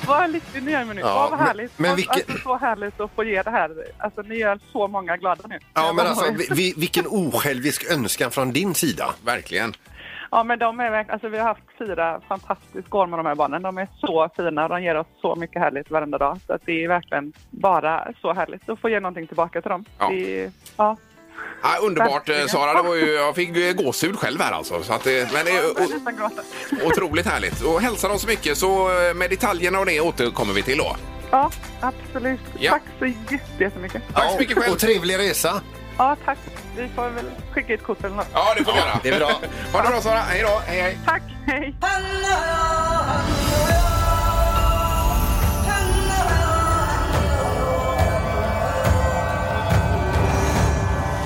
[SPEAKER 7] Vad lycklig ni gör mig nu.
[SPEAKER 4] Ja,
[SPEAKER 7] Åh, vad
[SPEAKER 4] men-
[SPEAKER 7] härligt.
[SPEAKER 4] men
[SPEAKER 7] Och-
[SPEAKER 4] vilken-
[SPEAKER 7] alltså, så härligt att få ge det här. Alltså, ni gör så många glada nu.
[SPEAKER 4] Ja, men alltså, vi- vi, vilken osjälvisk önskan från din sida.
[SPEAKER 3] Verkligen.
[SPEAKER 7] Ja, men de är verkligen... Alltså, vi har haft fyra fantastiska år med de här barnen. De är så fina och de ger oss så mycket härligt varenda dag. Så att det är verkligen bara så härligt att få ge någonting tillbaka till dem.
[SPEAKER 3] Ja.
[SPEAKER 7] Det är, ja.
[SPEAKER 3] Ja, underbart eh,
[SPEAKER 7] Verkligen.
[SPEAKER 3] Sara, det var ju, jag fick eh, gåshud själv här alltså. Så att, eh, men det är
[SPEAKER 7] Jag börjar
[SPEAKER 3] o-
[SPEAKER 7] nästan gråta.
[SPEAKER 3] otroligt härligt. Och hälsa dem så mycket så eh, med detaljerna och det återkommer vi till då.
[SPEAKER 7] Ja, absolut.
[SPEAKER 3] Ja.
[SPEAKER 7] Tack så jätte- jättemycket.
[SPEAKER 3] Tack så mycket själv.
[SPEAKER 4] Och trevlig resa.
[SPEAKER 7] Ja, tack. Vi får väl skicka ett kort eller något.
[SPEAKER 3] Ja, det får vi göra.
[SPEAKER 4] det är bra.
[SPEAKER 3] Ha det bra Sara, hej då. Hej, hej.
[SPEAKER 7] Tack, hej!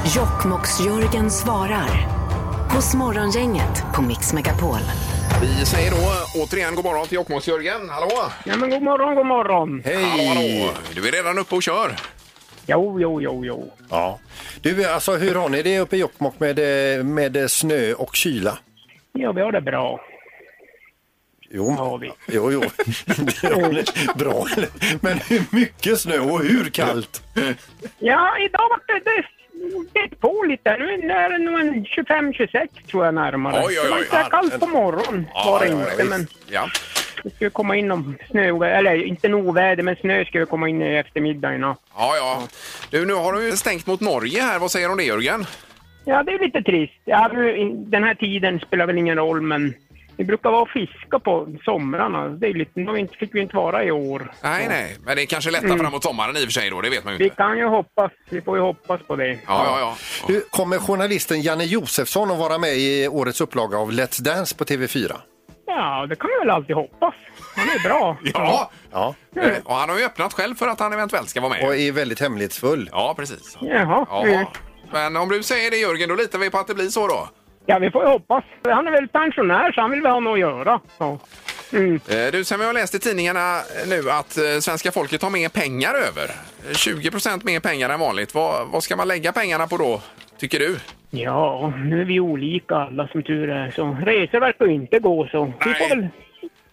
[SPEAKER 2] Jokkmokks-Jörgen svarar. Hos Morgongänget på Mix Megapol.
[SPEAKER 3] Vi säger då eh, återigen god morgon till Jokkmokks-Jörgen. Hallå!
[SPEAKER 6] Ja, men god morgon, god morgon.
[SPEAKER 3] Hallå,
[SPEAKER 4] Hej!
[SPEAKER 3] hallå! Du är redan uppe och kör.
[SPEAKER 6] Jo, jo, jo, jo.
[SPEAKER 4] Ja. Du, alltså, hur har ni det uppe i Jokkmokk med, eh, med eh, snö och kyla?
[SPEAKER 6] Ja, vi har det bra.
[SPEAKER 4] Jo,
[SPEAKER 6] Ja, vi.
[SPEAKER 4] jo, jo. Det har ni. bra. Men hur mycket snö och hur kallt?
[SPEAKER 6] Ja, idag var det, det gick på lite. Nu är det nog en 25-26 tror jag närmare.
[SPEAKER 3] Oj, oj, oj.
[SPEAKER 6] Det var inte så här kallt på morgonen var det
[SPEAKER 3] ja,
[SPEAKER 6] inte,
[SPEAKER 3] visst.
[SPEAKER 6] men
[SPEAKER 3] ja.
[SPEAKER 6] det skulle komma in om snö, eller inte nog väder, men snö skulle komma in i eftermiddag i natt.
[SPEAKER 3] Ja, ja. Du, nu har du ju stängt mot Norge här. Vad säger du om det, Jörgen?
[SPEAKER 6] Ja, det är lite trist. Ja, nu, den här tiden spelar väl ingen roll, men vi brukar vara och fiska på somrarna. Det är lite, då fick vi inte vara i år.
[SPEAKER 3] Nej, nej. Men det är kanske lättar framåt sommaren i och för sig då. Det vet man ju
[SPEAKER 6] Vi
[SPEAKER 3] inte. Ja,
[SPEAKER 6] kan ju hoppas, vi får ju hoppas på det.
[SPEAKER 3] ja, ja.
[SPEAKER 4] Du, kommer journalisten Janne Josefsson att vara med i årets upplaga av Let's Dance på TV4?
[SPEAKER 6] Ja, det kan vi väl alltid hoppas. Han är bra.
[SPEAKER 3] Ja,
[SPEAKER 4] Ja.
[SPEAKER 3] Eh, och han har ju öppnat själv för att han eventuellt ska vara med.
[SPEAKER 4] Och är väldigt hemlighetsfull.
[SPEAKER 3] Ja, precis.
[SPEAKER 6] Jaha. Mm.
[SPEAKER 3] Ja. Men om du säger det, Jörgen, då litar vi på att det blir så då.
[SPEAKER 6] Ja, vi får ju hoppas. Han är väl pensionär så han vill väl ha något att göra. Ja. Mm.
[SPEAKER 3] Eh, Du, sen har jag läst i tidningarna nu att eh, svenska folket har mer pengar över. Eh, 20 procent mer pengar än vanligt. Vad, vad ska man lägga pengarna på då, tycker du?
[SPEAKER 6] ja, nu är vi olika alla som tur är. Så resor verkar ju inte gå så. Vi
[SPEAKER 3] Nej.
[SPEAKER 6] får väl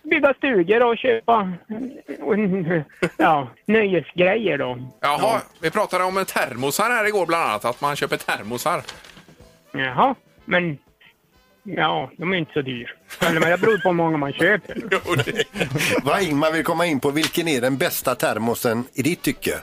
[SPEAKER 6] bygga stugor och köpa mm, ja, nöjesgrejer då.
[SPEAKER 3] Jaha, vi pratade om en termosar här igår bland annat, att man köper termosar.
[SPEAKER 6] Jaha, men ja, de är inte så dyra. Eller men det beror på hur många man köper.
[SPEAKER 4] Vad Ingmar vill komma in på, vilken är den bästa termosen i ditt tycke?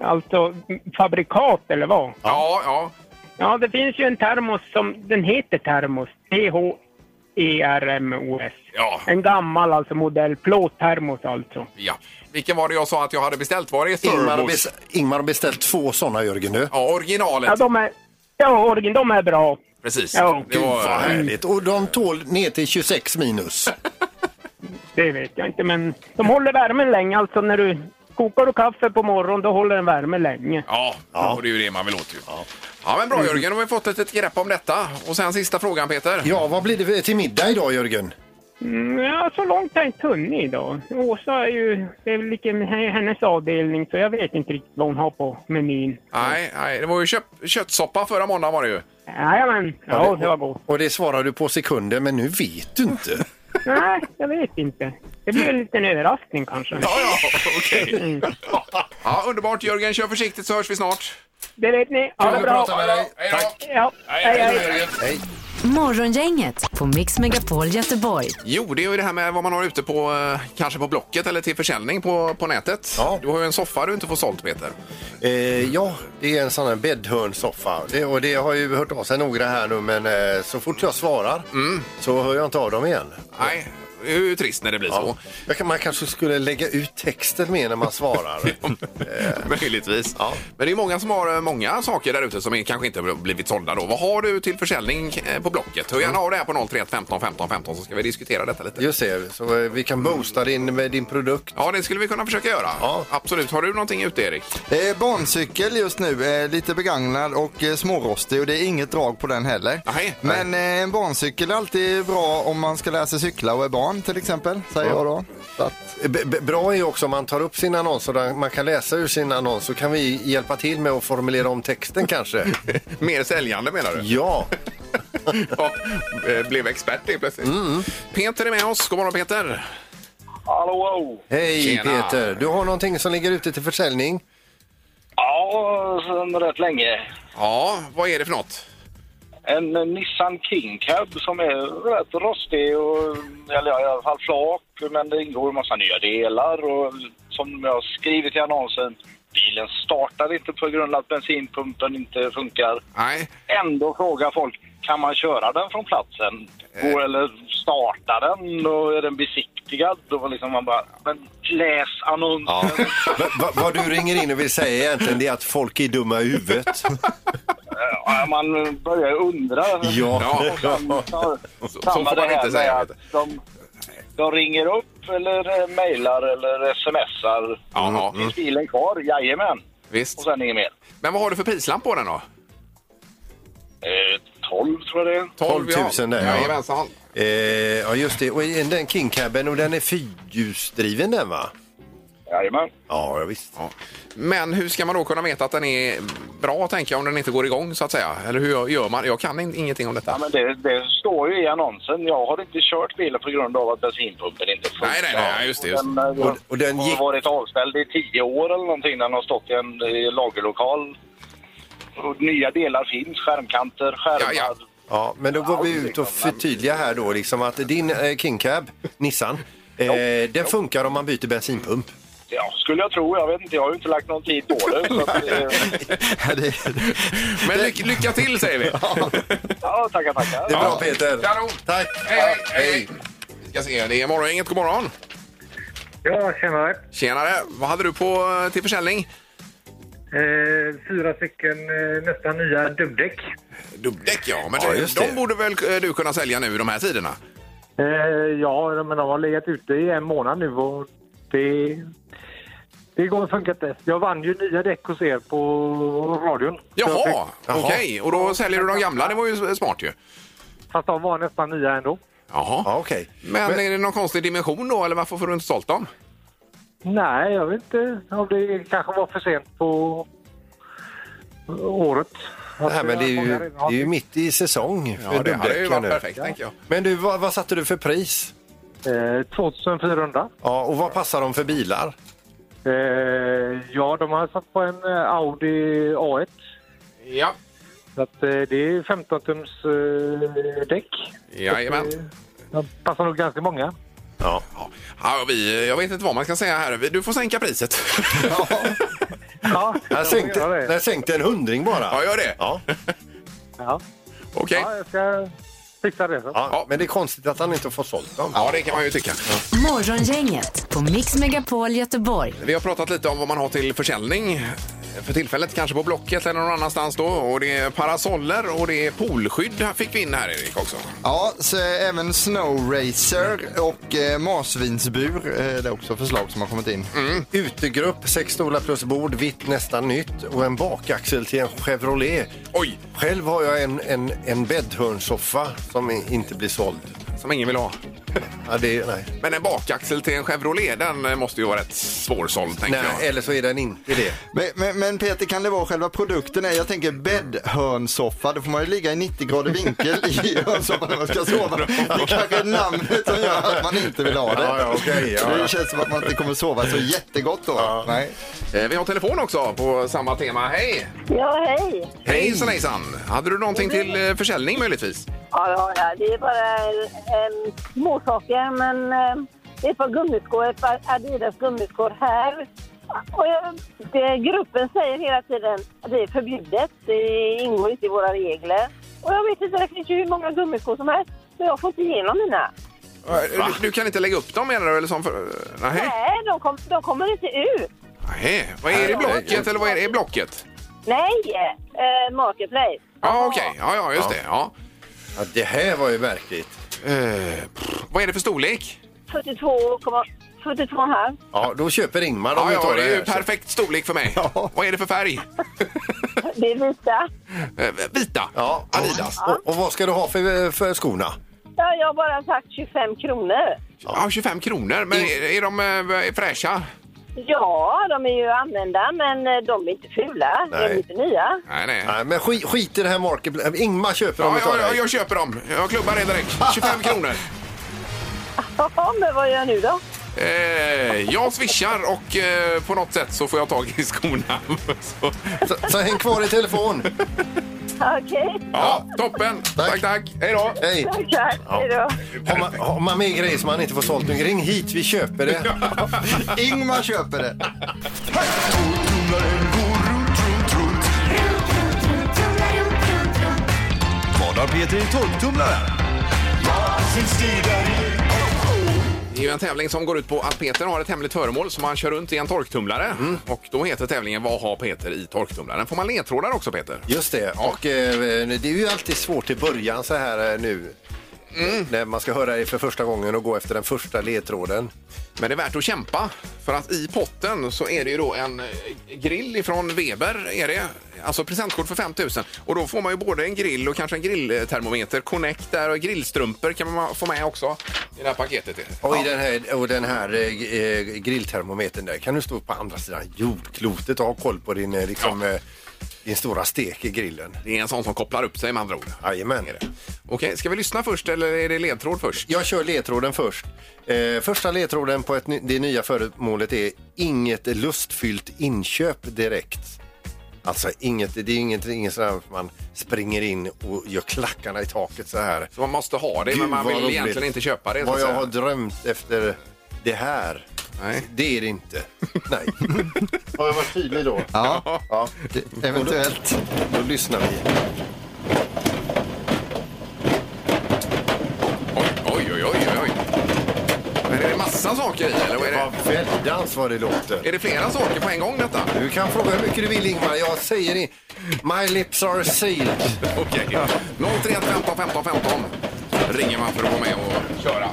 [SPEAKER 6] Alltså fabrikat eller vad?
[SPEAKER 3] Ja, ja.
[SPEAKER 6] Ja, det finns ju en termos som den heter termos. E T-H-E-R-M-O-S.
[SPEAKER 3] Ja,
[SPEAKER 6] En gammal alltså modell, plåttermos alltså.
[SPEAKER 3] ja. Vilken var det jag sa att jag hade beställt? Var det
[SPEAKER 4] Ingmar har,
[SPEAKER 3] Turbos?
[SPEAKER 4] bes- Ingmar har beställt två sådana, Jörgen. Du.
[SPEAKER 3] Ja, originalet.
[SPEAKER 6] Ja, de är, ja, origin, de är bra.
[SPEAKER 3] Precis.
[SPEAKER 6] Ja.
[SPEAKER 3] det var,
[SPEAKER 4] Vad härligt. Och de tål ner till 26 minus.
[SPEAKER 6] Det vet jag inte, men de håller värmen länge. Alltså när du kokar du kaffe på morgonen, då håller den värmen länge.
[SPEAKER 3] Ja, och det är ju det man vill åt ju. Ja. men bra Jörgen, då har vi fått ett, ett grepp om detta. Och sen sista frågan Peter.
[SPEAKER 4] Ja, vad blir det för- till middag idag, Jörgen?
[SPEAKER 6] Mm, ja, så långt har jag inte hunnit idag. Åsa är ju, det är väl lika med hennes avdelning, så jag vet inte riktigt vad hon har på menyn.
[SPEAKER 3] Nej, nej, det var ju köp, köttsoppa förra måndagen var det ju.
[SPEAKER 6] Jajamän, ja det var gott.
[SPEAKER 4] Och det svarar du på sekunder, men nu vet du inte.
[SPEAKER 6] Nej, jag vet inte. Det blir en liten överraskning kanske.
[SPEAKER 3] Ja, ja, okej. Ja, underbart Jörgen, kör försiktigt så hörs vi snart.
[SPEAKER 6] Det vet ni. Ha det bra.
[SPEAKER 3] Tack.
[SPEAKER 6] Ja, hej, hej.
[SPEAKER 2] Morgongänget på Mix Megapol Göteborg.
[SPEAKER 3] Jo, det är ju det här med vad man har ute på, eh, kanske på Blocket eller till försäljning på, på nätet.
[SPEAKER 4] Ja.
[SPEAKER 3] Du har ju en soffa du inte får sålt Peter.
[SPEAKER 4] Eh, ja, det är en sån här bäddhörnsoffa. Det, och det har ju hört av sig några här nu men eh, så fort jag svarar
[SPEAKER 6] Mm.
[SPEAKER 4] så hör jag inte av dem igen.
[SPEAKER 3] Nej, det är ju trist när det blir
[SPEAKER 4] Ja. Jag kan, man kanske skulle lägga ut texten mer när man svarar.
[SPEAKER 3] så. Eh, Möjligtvis. Men det är många som har eh, många saker där ute som är, kanske inte har blivit sålda då. Vad har du till försäljning eh, på Blocket? Hör gärna av det här på 031 15 15 15 så ska vi diskutera detta lite.
[SPEAKER 4] Just det, så eh, vi kan boosta din, med din produkt.
[SPEAKER 3] Ja, det skulle vi kunna försöka göra. Absolut. Har du någonting ute, Erik?
[SPEAKER 5] Eh, barncykel just nu, eh, lite begagnad och eh, smårostig och det är inget drag på den heller.
[SPEAKER 3] Nej, nej.
[SPEAKER 5] Men eh, en barncykel är alltid bra om man ska lära sig cykla och är barn till exempel, säger jag då. Så att,
[SPEAKER 4] B- b- bra är ju också om man tar upp sin annons och där man kan läsa ur sin annons så kan vi hjälpa till med att formulera om texten kanske.
[SPEAKER 3] Mer säljande menar du?
[SPEAKER 4] Ja,
[SPEAKER 3] Ja, eh, blev expert det plötsligt. Peter är med oss. God morgon Peter!
[SPEAKER 9] Hallå!
[SPEAKER 4] hej
[SPEAKER 3] Tjena.
[SPEAKER 4] Peter. Du har någonting som ligger ute till försäljning.
[SPEAKER 9] Ja, sedan rätt länge.
[SPEAKER 3] Ja, vad är det för något?
[SPEAKER 9] En Nissan King Cab som är rätt rostig och, eller ja, i alla fall flak, men det ingår en massa nya delar och som jag har skrivit i annonsen, bilen startar inte på grund av att bensinpumpen inte funkar.
[SPEAKER 3] Nej,
[SPEAKER 9] Ändå frågar folk, kan man köra den från platsen? Och, eller starta den och är den besiktigad? Då liksom man bara, men läs annonsen.
[SPEAKER 4] Va- va- vad du ringer in och vill säga egentligen det är att folk är dumma i huvudet.
[SPEAKER 9] Ja, man börjar ju undra.
[SPEAKER 4] Ja.
[SPEAKER 9] Och sen, så,
[SPEAKER 3] så
[SPEAKER 9] samma
[SPEAKER 3] får man
[SPEAKER 9] det här
[SPEAKER 3] inte
[SPEAKER 9] med
[SPEAKER 3] säga,
[SPEAKER 9] att
[SPEAKER 3] vet
[SPEAKER 9] De, de ringer upp eller eh, mejlar eller smsar.
[SPEAKER 3] Jaha.
[SPEAKER 9] Finns bilen kvar? Jajamän.
[SPEAKER 3] visst.
[SPEAKER 9] Och sen inget mer.
[SPEAKER 3] Men vad har du för prislapp på den då?
[SPEAKER 9] Eh, 12 tror jag det är.
[SPEAKER 4] 12 000
[SPEAKER 3] ja.
[SPEAKER 4] där, ja.
[SPEAKER 3] Jajamensan.
[SPEAKER 4] Eh, ja just det, och i den King Caben och den är fyrhjulsdriven den va?
[SPEAKER 9] Jajamän.
[SPEAKER 4] Ja, visst.
[SPEAKER 3] Ja. Men hur ska man då kunna veta att den är bra, tänker jag, om den inte går igång så att säga? Eller hur gör man? Jag kan in- ingenting om detta.
[SPEAKER 9] Ja, men det, det står ju i annonsen. Jag har inte kört bilen på grund av att bensinpumpen inte funkar.
[SPEAKER 3] Nej, nej, nej, just det, just
[SPEAKER 9] Och den, eh,
[SPEAKER 4] Och- och den gick-
[SPEAKER 9] har varit avställd i 10 år eller någonting. Den har stått i en eh, lagerlokal. Och nya delar finns. Skärmkanter, skärmar.
[SPEAKER 3] Ja, ja.
[SPEAKER 4] Ja, men då går vi ut och förtydligar här då liksom att din eh, King Cab, Nissan, eh, den funkar om man byter bensinpump.
[SPEAKER 9] Ja, skulle jag tro. Jag vet inte, jag har ju inte lagt någon tid på det. Så att, eh,
[SPEAKER 5] ja, det,
[SPEAKER 3] Men lyck, lycka till säger vi!
[SPEAKER 9] ja, tackar, tackar.
[SPEAKER 4] Det är bra Peter.
[SPEAKER 3] Kanon.
[SPEAKER 4] Tack.
[SPEAKER 3] Hej, hej, hej! Vi ska se, det är Morgongänget. God morgon!
[SPEAKER 10] Ja, tjenare.
[SPEAKER 3] Tjenare! Vad hade du på till försäljning?
[SPEAKER 10] Eh, fyra stycken eh, nästan nya dubbdäck.
[SPEAKER 3] Dubbdäck ja, men
[SPEAKER 4] Ja,
[SPEAKER 3] de-
[SPEAKER 4] just
[SPEAKER 3] de
[SPEAKER 4] det.
[SPEAKER 3] borde väl eh, du kunna sälja nu i de här tiderna?
[SPEAKER 10] Eh, ja, men de har legat ute i en månad nu och det, det går funkar inte. Jag vann ju nya däck hos er på radion. Så jag
[SPEAKER 3] Jaha,
[SPEAKER 10] fick-
[SPEAKER 3] okej. Och då säljer du de gamla, det var ju eh, smart ju.
[SPEAKER 10] Fast de var nästan nya ändå.
[SPEAKER 3] Jaha.
[SPEAKER 4] Ja, okej.
[SPEAKER 3] Men, är det någon konstig dimension då, eller varför får du inte sålt dem?
[SPEAKER 10] Nej, jag vet inte om det kanske var för sent på året. Alltså,
[SPEAKER 4] Det här, men det är ju, det är ju mitt i säsong för
[SPEAKER 3] Ja, det hade ju
[SPEAKER 4] dubbdäcken
[SPEAKER 3] varit
[SPEAKER 4] nu.
[SPEAKER 3] perfekt, tänker jag.
[SPEAKER 4] Men du, vad, vad satte du för pris?
[SPEAKER 10] Eh, 2400.
[SPEAKER 4] Ja, och vad passar de för bilar?
[SPEAKER 10] Eh, ja, de har satt på en eh, Audi A1.
[SPEAKER 3] Ja.
[SPEAKER 10] Så att, eh, det är 15-tums eh, däck.
[SPEAKER 3] Jajamän.
[SPEAKER 10] De passar nog ganska många.
[SPEAKER 4] Ja.
[SPEAKER 3] Ja, vi, jag vet inte vad man ska säga här. Du får sänka priset.
[SPEAKER 10] Ja,
[SPEAKER 4] Jag sänkte, jag sänkte en hundring bara.
[SPEAKER 3] Ja, gör det.
[SPEAKER 4] Ja.
[SPEAKER 10] Ja.
[SPEAKER 3] Okej.
[SPEAKER 10] ja, jag ska fixa det. Så.
[SPEAKER 4] Ja, men det är konstigt att han inte får sålt dem.
[SPEAKER 3] Ja, det kan man ju tycka.
[SPEAKER 2] Morgongänget på Mix Megapol Göteborg.
[SPEAKER 3] Vi har pratat lite om vad man har till försäljning för tillfället, kanske på Blocket eller någon annanstans då. Och det är parasoller och det är polskydd fick vi in här, Erik, också.
[SPEAKER 5] ja, så eh, även Snow Racer och eh, marsvinsbur, eh, det är också förslag som har kommit in.
[SPEAKER 4] Mm. Utegrupp, sex stolar plus bord, vitt nästan nytt och en bakaxel till en Chevrolet.
[SPEAKER 3] Oj,
[SPEAKER 4] Själv har jag en, en, en bäddhörnsoffa som i- inte blir såld.
[SPEAKER 3] som ingen vill ha.
[SPEAKER 4] Ja, det, nej.
[SPEAKER 3] Men en bakaxel till en Chevrolet, den måste ju vara rätt svårsåld, tänker
[SPEAKER 4] nej, eller så är den inte det.
[SPEAKER 5] Men, men, men Peter, kan det vara själva produkten? är? Jag tänker bäddhörnsoffa, då får man ju ligga i 90 grader vinkel i hörnsoffan när man ska sova. Det kanske är namnet som gör att man inte vill ha det.
[SPEAKER 4] Ja, ja, okej, ja, ja.
[SPEAKER 5] Det känns som att man inte kommer sova så jättegott då. Nej.
[SPEAKER 3] jag. Eh, Vi har telefon också på samma tema. Hej!
[SPEAKER 11] Ja, hej!
[SPEAKER 3] Hejsan hejsan! Hade du någonting till eh, försäljning möjligtvis?
[SPEAKER 11] Ja, det har jag. Det är bara eh, småsaker, men eh, det är ett par gummiskor, ett par Adidas gummiskor här. Och jag, det, gruppen säger hela tiden att det är förbjudet, det ingår inte i våra regler. Och jag vet inte, det finns ju hur många gummiskor som helst, men jag får inte igenom mina.
[SPEAKER 3] Du, du kan inte lägga upp dem menar du? Eller som för... Nej.
[SPEAKER 11] Nej, de, kom, de kommer inte ut.
[SPEAKER 3] Nej. Vad är det i blocket? Eller vad är det i blocket?
[SPEAKER 11] Nej, eh, Marketplace.
[SPEAKER 3] Ja, okej. Ja, ja, just det. Ja.
[SPEAKER 4] Ja, det här var ju verkligt.
[SPEAKER 3] Eh, pff, vad är det för storlek?
[SPEAKER 11] 42,5. 42,5.
[SPEAKER 4] Ja, då köper Ingmar om
[SPEAKER 3] Ja,
[SPEAKER 4] vi
[SPEAKER 3] ja,
[SPEAKER 4] tar
[SPEAKER 3] det är ju
[SPEAKER 4] här.
[SPEAKER 3] perfekt storlek för mig. Vad är det för färg?
[SPEAKER 11] Det är vita.
[SPEAKER 3] Eh, Vita.
[SPEAKER 4] Ja, och-
[SPEAKER 3] Adidas.
[SPEAKER 4] Och, och vad ska du ha för, för skorna?
[SPEAKER 11] Ja, jag har bara sagt 25 kronor.
[SPEAKER 3] Ja, 25 kronor. Men är, är de eh, fräscha?
[SPEAKER 11] Ja, de är ju använda, men eh, de är inte fula. De
[SPEAKER 4] Nej.
[SPEAKER 11] är inte nya.
[SPEAKER 3] Nej, nej.
[SPEAKER 4] Nej, men skit, skit i det här market. Ingmar köper dem
[SPEAKER 3] Ja,
[SPEAKER 4] och tar
[SPEAKER 3] ja,
[SPEAKER 4] det.
[SPEAKER 3] ja, jag köper dem. Jag klubbar det direkt. 25 kronor.
[SPEAKER 11] Jaha, men vad gör jag nu då?
[SPEAKER 3] Eh, jag swishar och eh, på något sätt så får jag tag i skorna. Så,
[SPEAKER 4] Så, så häng kvar i telefon.
[SPEAKER 11] Okej,
[SPEAKER 3] ja, toppen. Tack, tack. Hej då.
[SPEAKER 4] Hej.
[SPEAKER 11] tackar. Hej då.
[SPEAKER 4] Har man, har man med grejer som man inte får sålt nu, ring hit, vi köper det.
[SPEAKER 5] Ingmar köper det.
[SPEAKER 12] Vad har Peter i torktumlaren?
[SPEAKER 3] Det är ju en tävling som går ut på att Peter har ett hemligt föremål som han kör runt i en torktumlare.
[SPEAKER 4] Mm.
[SPEAKER 3] Och då heter tävlingen Vad har Peter i torktumlaren? Får man ledtrådar också Peter?
[SPEAKER 4] Just det, och eh, det är ju alltid svårt i början så här eh, nu.
[SPEAKER 3] Mm.
[SPEAKER 4] När man ska höra det för första gången och gå efter den första ledtråden.
[SPEAKER 3] Men det är värt att kämpa. För att i potten så är det ju då en eh, grill ifrån Weber. Är det. Alltså presentkort för 5 000. Och då får man ju både en grill och kanske en grilltermometer. Connect där och grillstrumpor kan man få med också i det här paketet.
[SPEAKER 4] Och, i den här, och den här eh, eh, grilltermometern där kan du stå på andra sidan jordklotet och ha koll på din, eh, liksom, eh, din stora stek i grillen.
[SPEAKER 3] Det är en sån som kopplar upp sig med andra ord.
[SPEAKER 4] Jajamän.
[SPEAKER 3] Är det. Okej, ska vi lyssna först eller är det ledtråd först?
[SPEAKER 4] Jag kör ledtråden först. Eh, första ledtråden på ett, ny- det nya föremålet är inget lustfyllt inköp direkt. Alltså inget, det är inget, inget sådär att man springer in och gör klackarna i taket så här.
[SPEAKER 3] Så man måste ha det,
[SPEAKER 4] Gud,
[SPEAKER 3] men man
[SPEAKER 4] vad
[SPEAKER 3] vill
[SPEAKER 4] roligt.
[SPEAKER 3] egentligen inte köpa det. så
[SPEAKER 4] Vad
[SPEAKER 3] att
[SPEAKER 4] jag
[SPEAKER 3] säga.
[SPEAKER 4] har drömt efter det här.
[SPEAKER 3] Nej.
[SPEAKER 4] Det är det inte. Nej. har jag varit tydlig då?
[SPEAKER 5] Ja,
[SPEAKER 4] Ja.
[SPEAKER 5] eventuellt.
[SPEAKER 4] Då lyssnar vi.
[SPEAKER 3] Oj, oj, oj, oj, oj. Men är det massa saker i eller vad är det?
[SPEAKER 4] Vad väldans vad det låter.
[SPEAKER 3] Är det flera saker på en gång detta?
[SPEAKER 4] Du kan fråga hur mycket du vill Ingmar. Jag säger det. My lips are sealed.
[SPEAKER 3] Okej. 031 15 15 15 ringer man för att vara med och köra.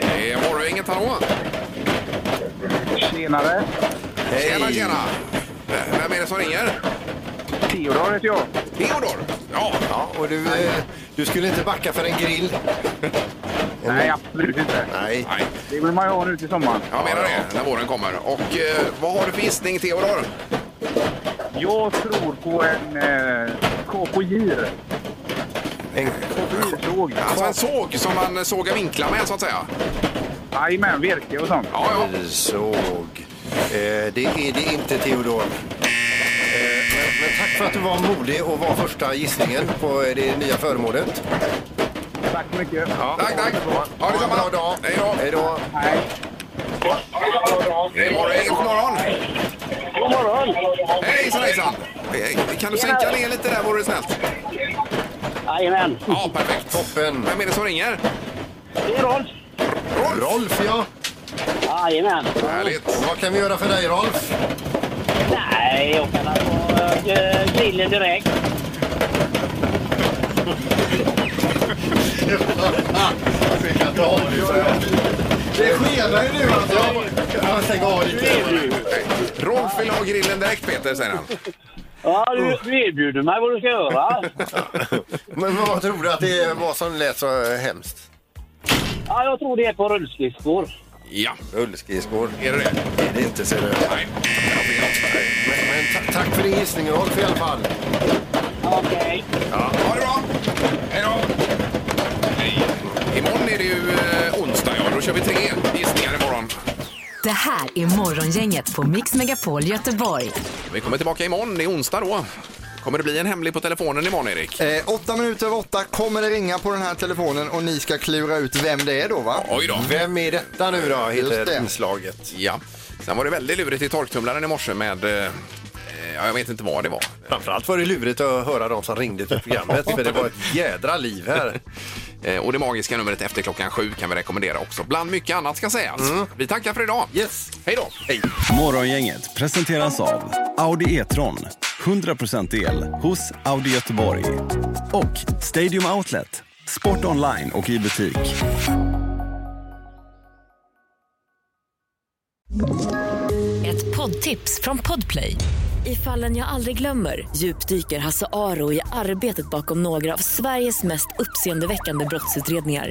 [SPEAKER 3] Det är Morgongänget, hallå!
[SPEAKER 10] Tjenare!
[SPEAKER 3] Hej! Tjena, tjena! Vem är det som ringer?
[SPEAKER 10] Theodor heter jag.
[SPEAKER 3] Theodor! Ja,
[SPEAKER 4] Ja, och du, eh, du skulle inte backa för en grill.
[SPEAKER 10] Nej, absolut inte.
[SPEAKER 4] Nej.
[SPEAKER 3] nej,
[SPEAKER 10] Det vill man ju ha nu till sommaren.
[SPEAKER 3] jag menar det, när våren kommer. Och eh, vad har du för gissning, Theodor?
[SPEAKER 10] Jag tror på en eh, KPJ.
[SPEAKER 4] En,
[SPEAKER 10] KPJ-såg.
[SPEAKER 3] Alltså en såg som man sågar vinklar med, så att säga.
[SPEAKER 10] Jajamän, virke och sånt.
[SPEAKER 3] Ja, ja.
[SPEAKER 4] såg. Eh, det är det inte, Theodor. Eh, men, men tack för att du var modig och var första gissningen på eh, det nya föremålet.
[SPEAKER 10] Tack så mycket.
[SPEAKER 3] Tack, tack! Ha detsamma!
[SPEAKER 4] Ha en bra dag.
[SPEAKER 3] Hej då!
[SPEAKER 4] Hej då.
[SPEAKER 10] Hej.
[SPEAKER 3] Hej, morgon, god morgon!
[SPEAKER 9] God morgon!
[SPEAKER 3] Hejsan, hejsan! Eh, Kan du sänka ner lite där vore det snällt?
[SPEAKER 9] Jajamän!
[SPEAKER 3] Ja, perfekt.
[SPEAKER 4] Toppen.
[SPEAKER 3] Vem är det som ringer?
[SPEAKER 9] Det är Rolf!
[SPEAKER 3] Rolf!
[SPEAKER 4] Rolf, ja.
[SPEAKER 9] Jajamän!
[SPEAKER 3] Härligt!
[SPEAKER 4] Vad kan vi göra för dig, Rolf?
[SPEAKER 9] Nej, jag kan ha på eh, grillen direkt.
[SPEAKER 5] Det skenar ju nu alltså.
[SPEAKER 4] Stäng av lite.
[SPEAKER 3] Rolf vill ha grillen direkt, Peter, säger han.
[SPEAKER 9] Ja, du, du erbjuder mig vad du ska göra.
[SPEAKER 4] Men vad tror du att det var som lät så hemskt?
[SPEAKER 13] Ja, jag tror det är på rullskridskor.
[SPEAKER 3] Ja.
[SPEAKER 4] Rullskridskor.
[SPEAKER 3] Är det det?
[SPEAKER 4] Är det inte seriöst?
[SPEAKER 3] Nej.
[SPEAKER 4] Men, men ta- tack för din gissning Rolf i alla fall.
[SPEAKER 13] Okej.
[SPEAKER 3] Ja. Ha det bra! Hej då! Hej. Imorgon är det ju eh, onsdag, ja. Då kör vi tre gissningar imorgon.
[SPEAKER 2] Det här är Morgongänget på Mix Megapol Göteborg.
[SPEAKER 3] Vi kommer tillbaka imorgon. Det är onsdag då. Kommer det bli en hemlig på telefonen imorgon, Erik?
[SPEAKER 5] Eh, åtta minuter över åtta kommer det ringa på den här telefonen och ni ska klura ut vem det är då va?
[SPEAKER 3] Oj då.
[SPEAKER 4] Vem är detta nu då?
[SPEAKER 5] Just det.
[SPEAKER 4] Heter inslaget.
[SPEAKER 3] Ja. Sen var det väldigt lurigt i torktumlaren i morse med... eh, eh, Ja, jag vet inte vad det var.
[SPEAKER 4] Framförallt var det lurigt att höra de som ringde till programmet för det var ett jädra liv här.
[SPEAKER 3] Eh, Och det magiska numret efter klockan sju kan vi rekommendera också. Bland mycket annat ska sägas. Vi tackar för idag.
[SPEAKER 4] Mm. Yes.
[SPEAKER 3] Hej då. Hej.
[SPEAKER 12] Morgongänget presenteras av Audi E-tron. 100% el hos Audi Göteborg. Och Stadium Outlet. Sport online och i butik.
[SPEAKER 14] Ett poddtips från Podplay. I fallen jag aldrig glömmer djupdyker Hasse Aro i arbetet bakom några av Sveriges mest uppseendeväckande brottsutredningar.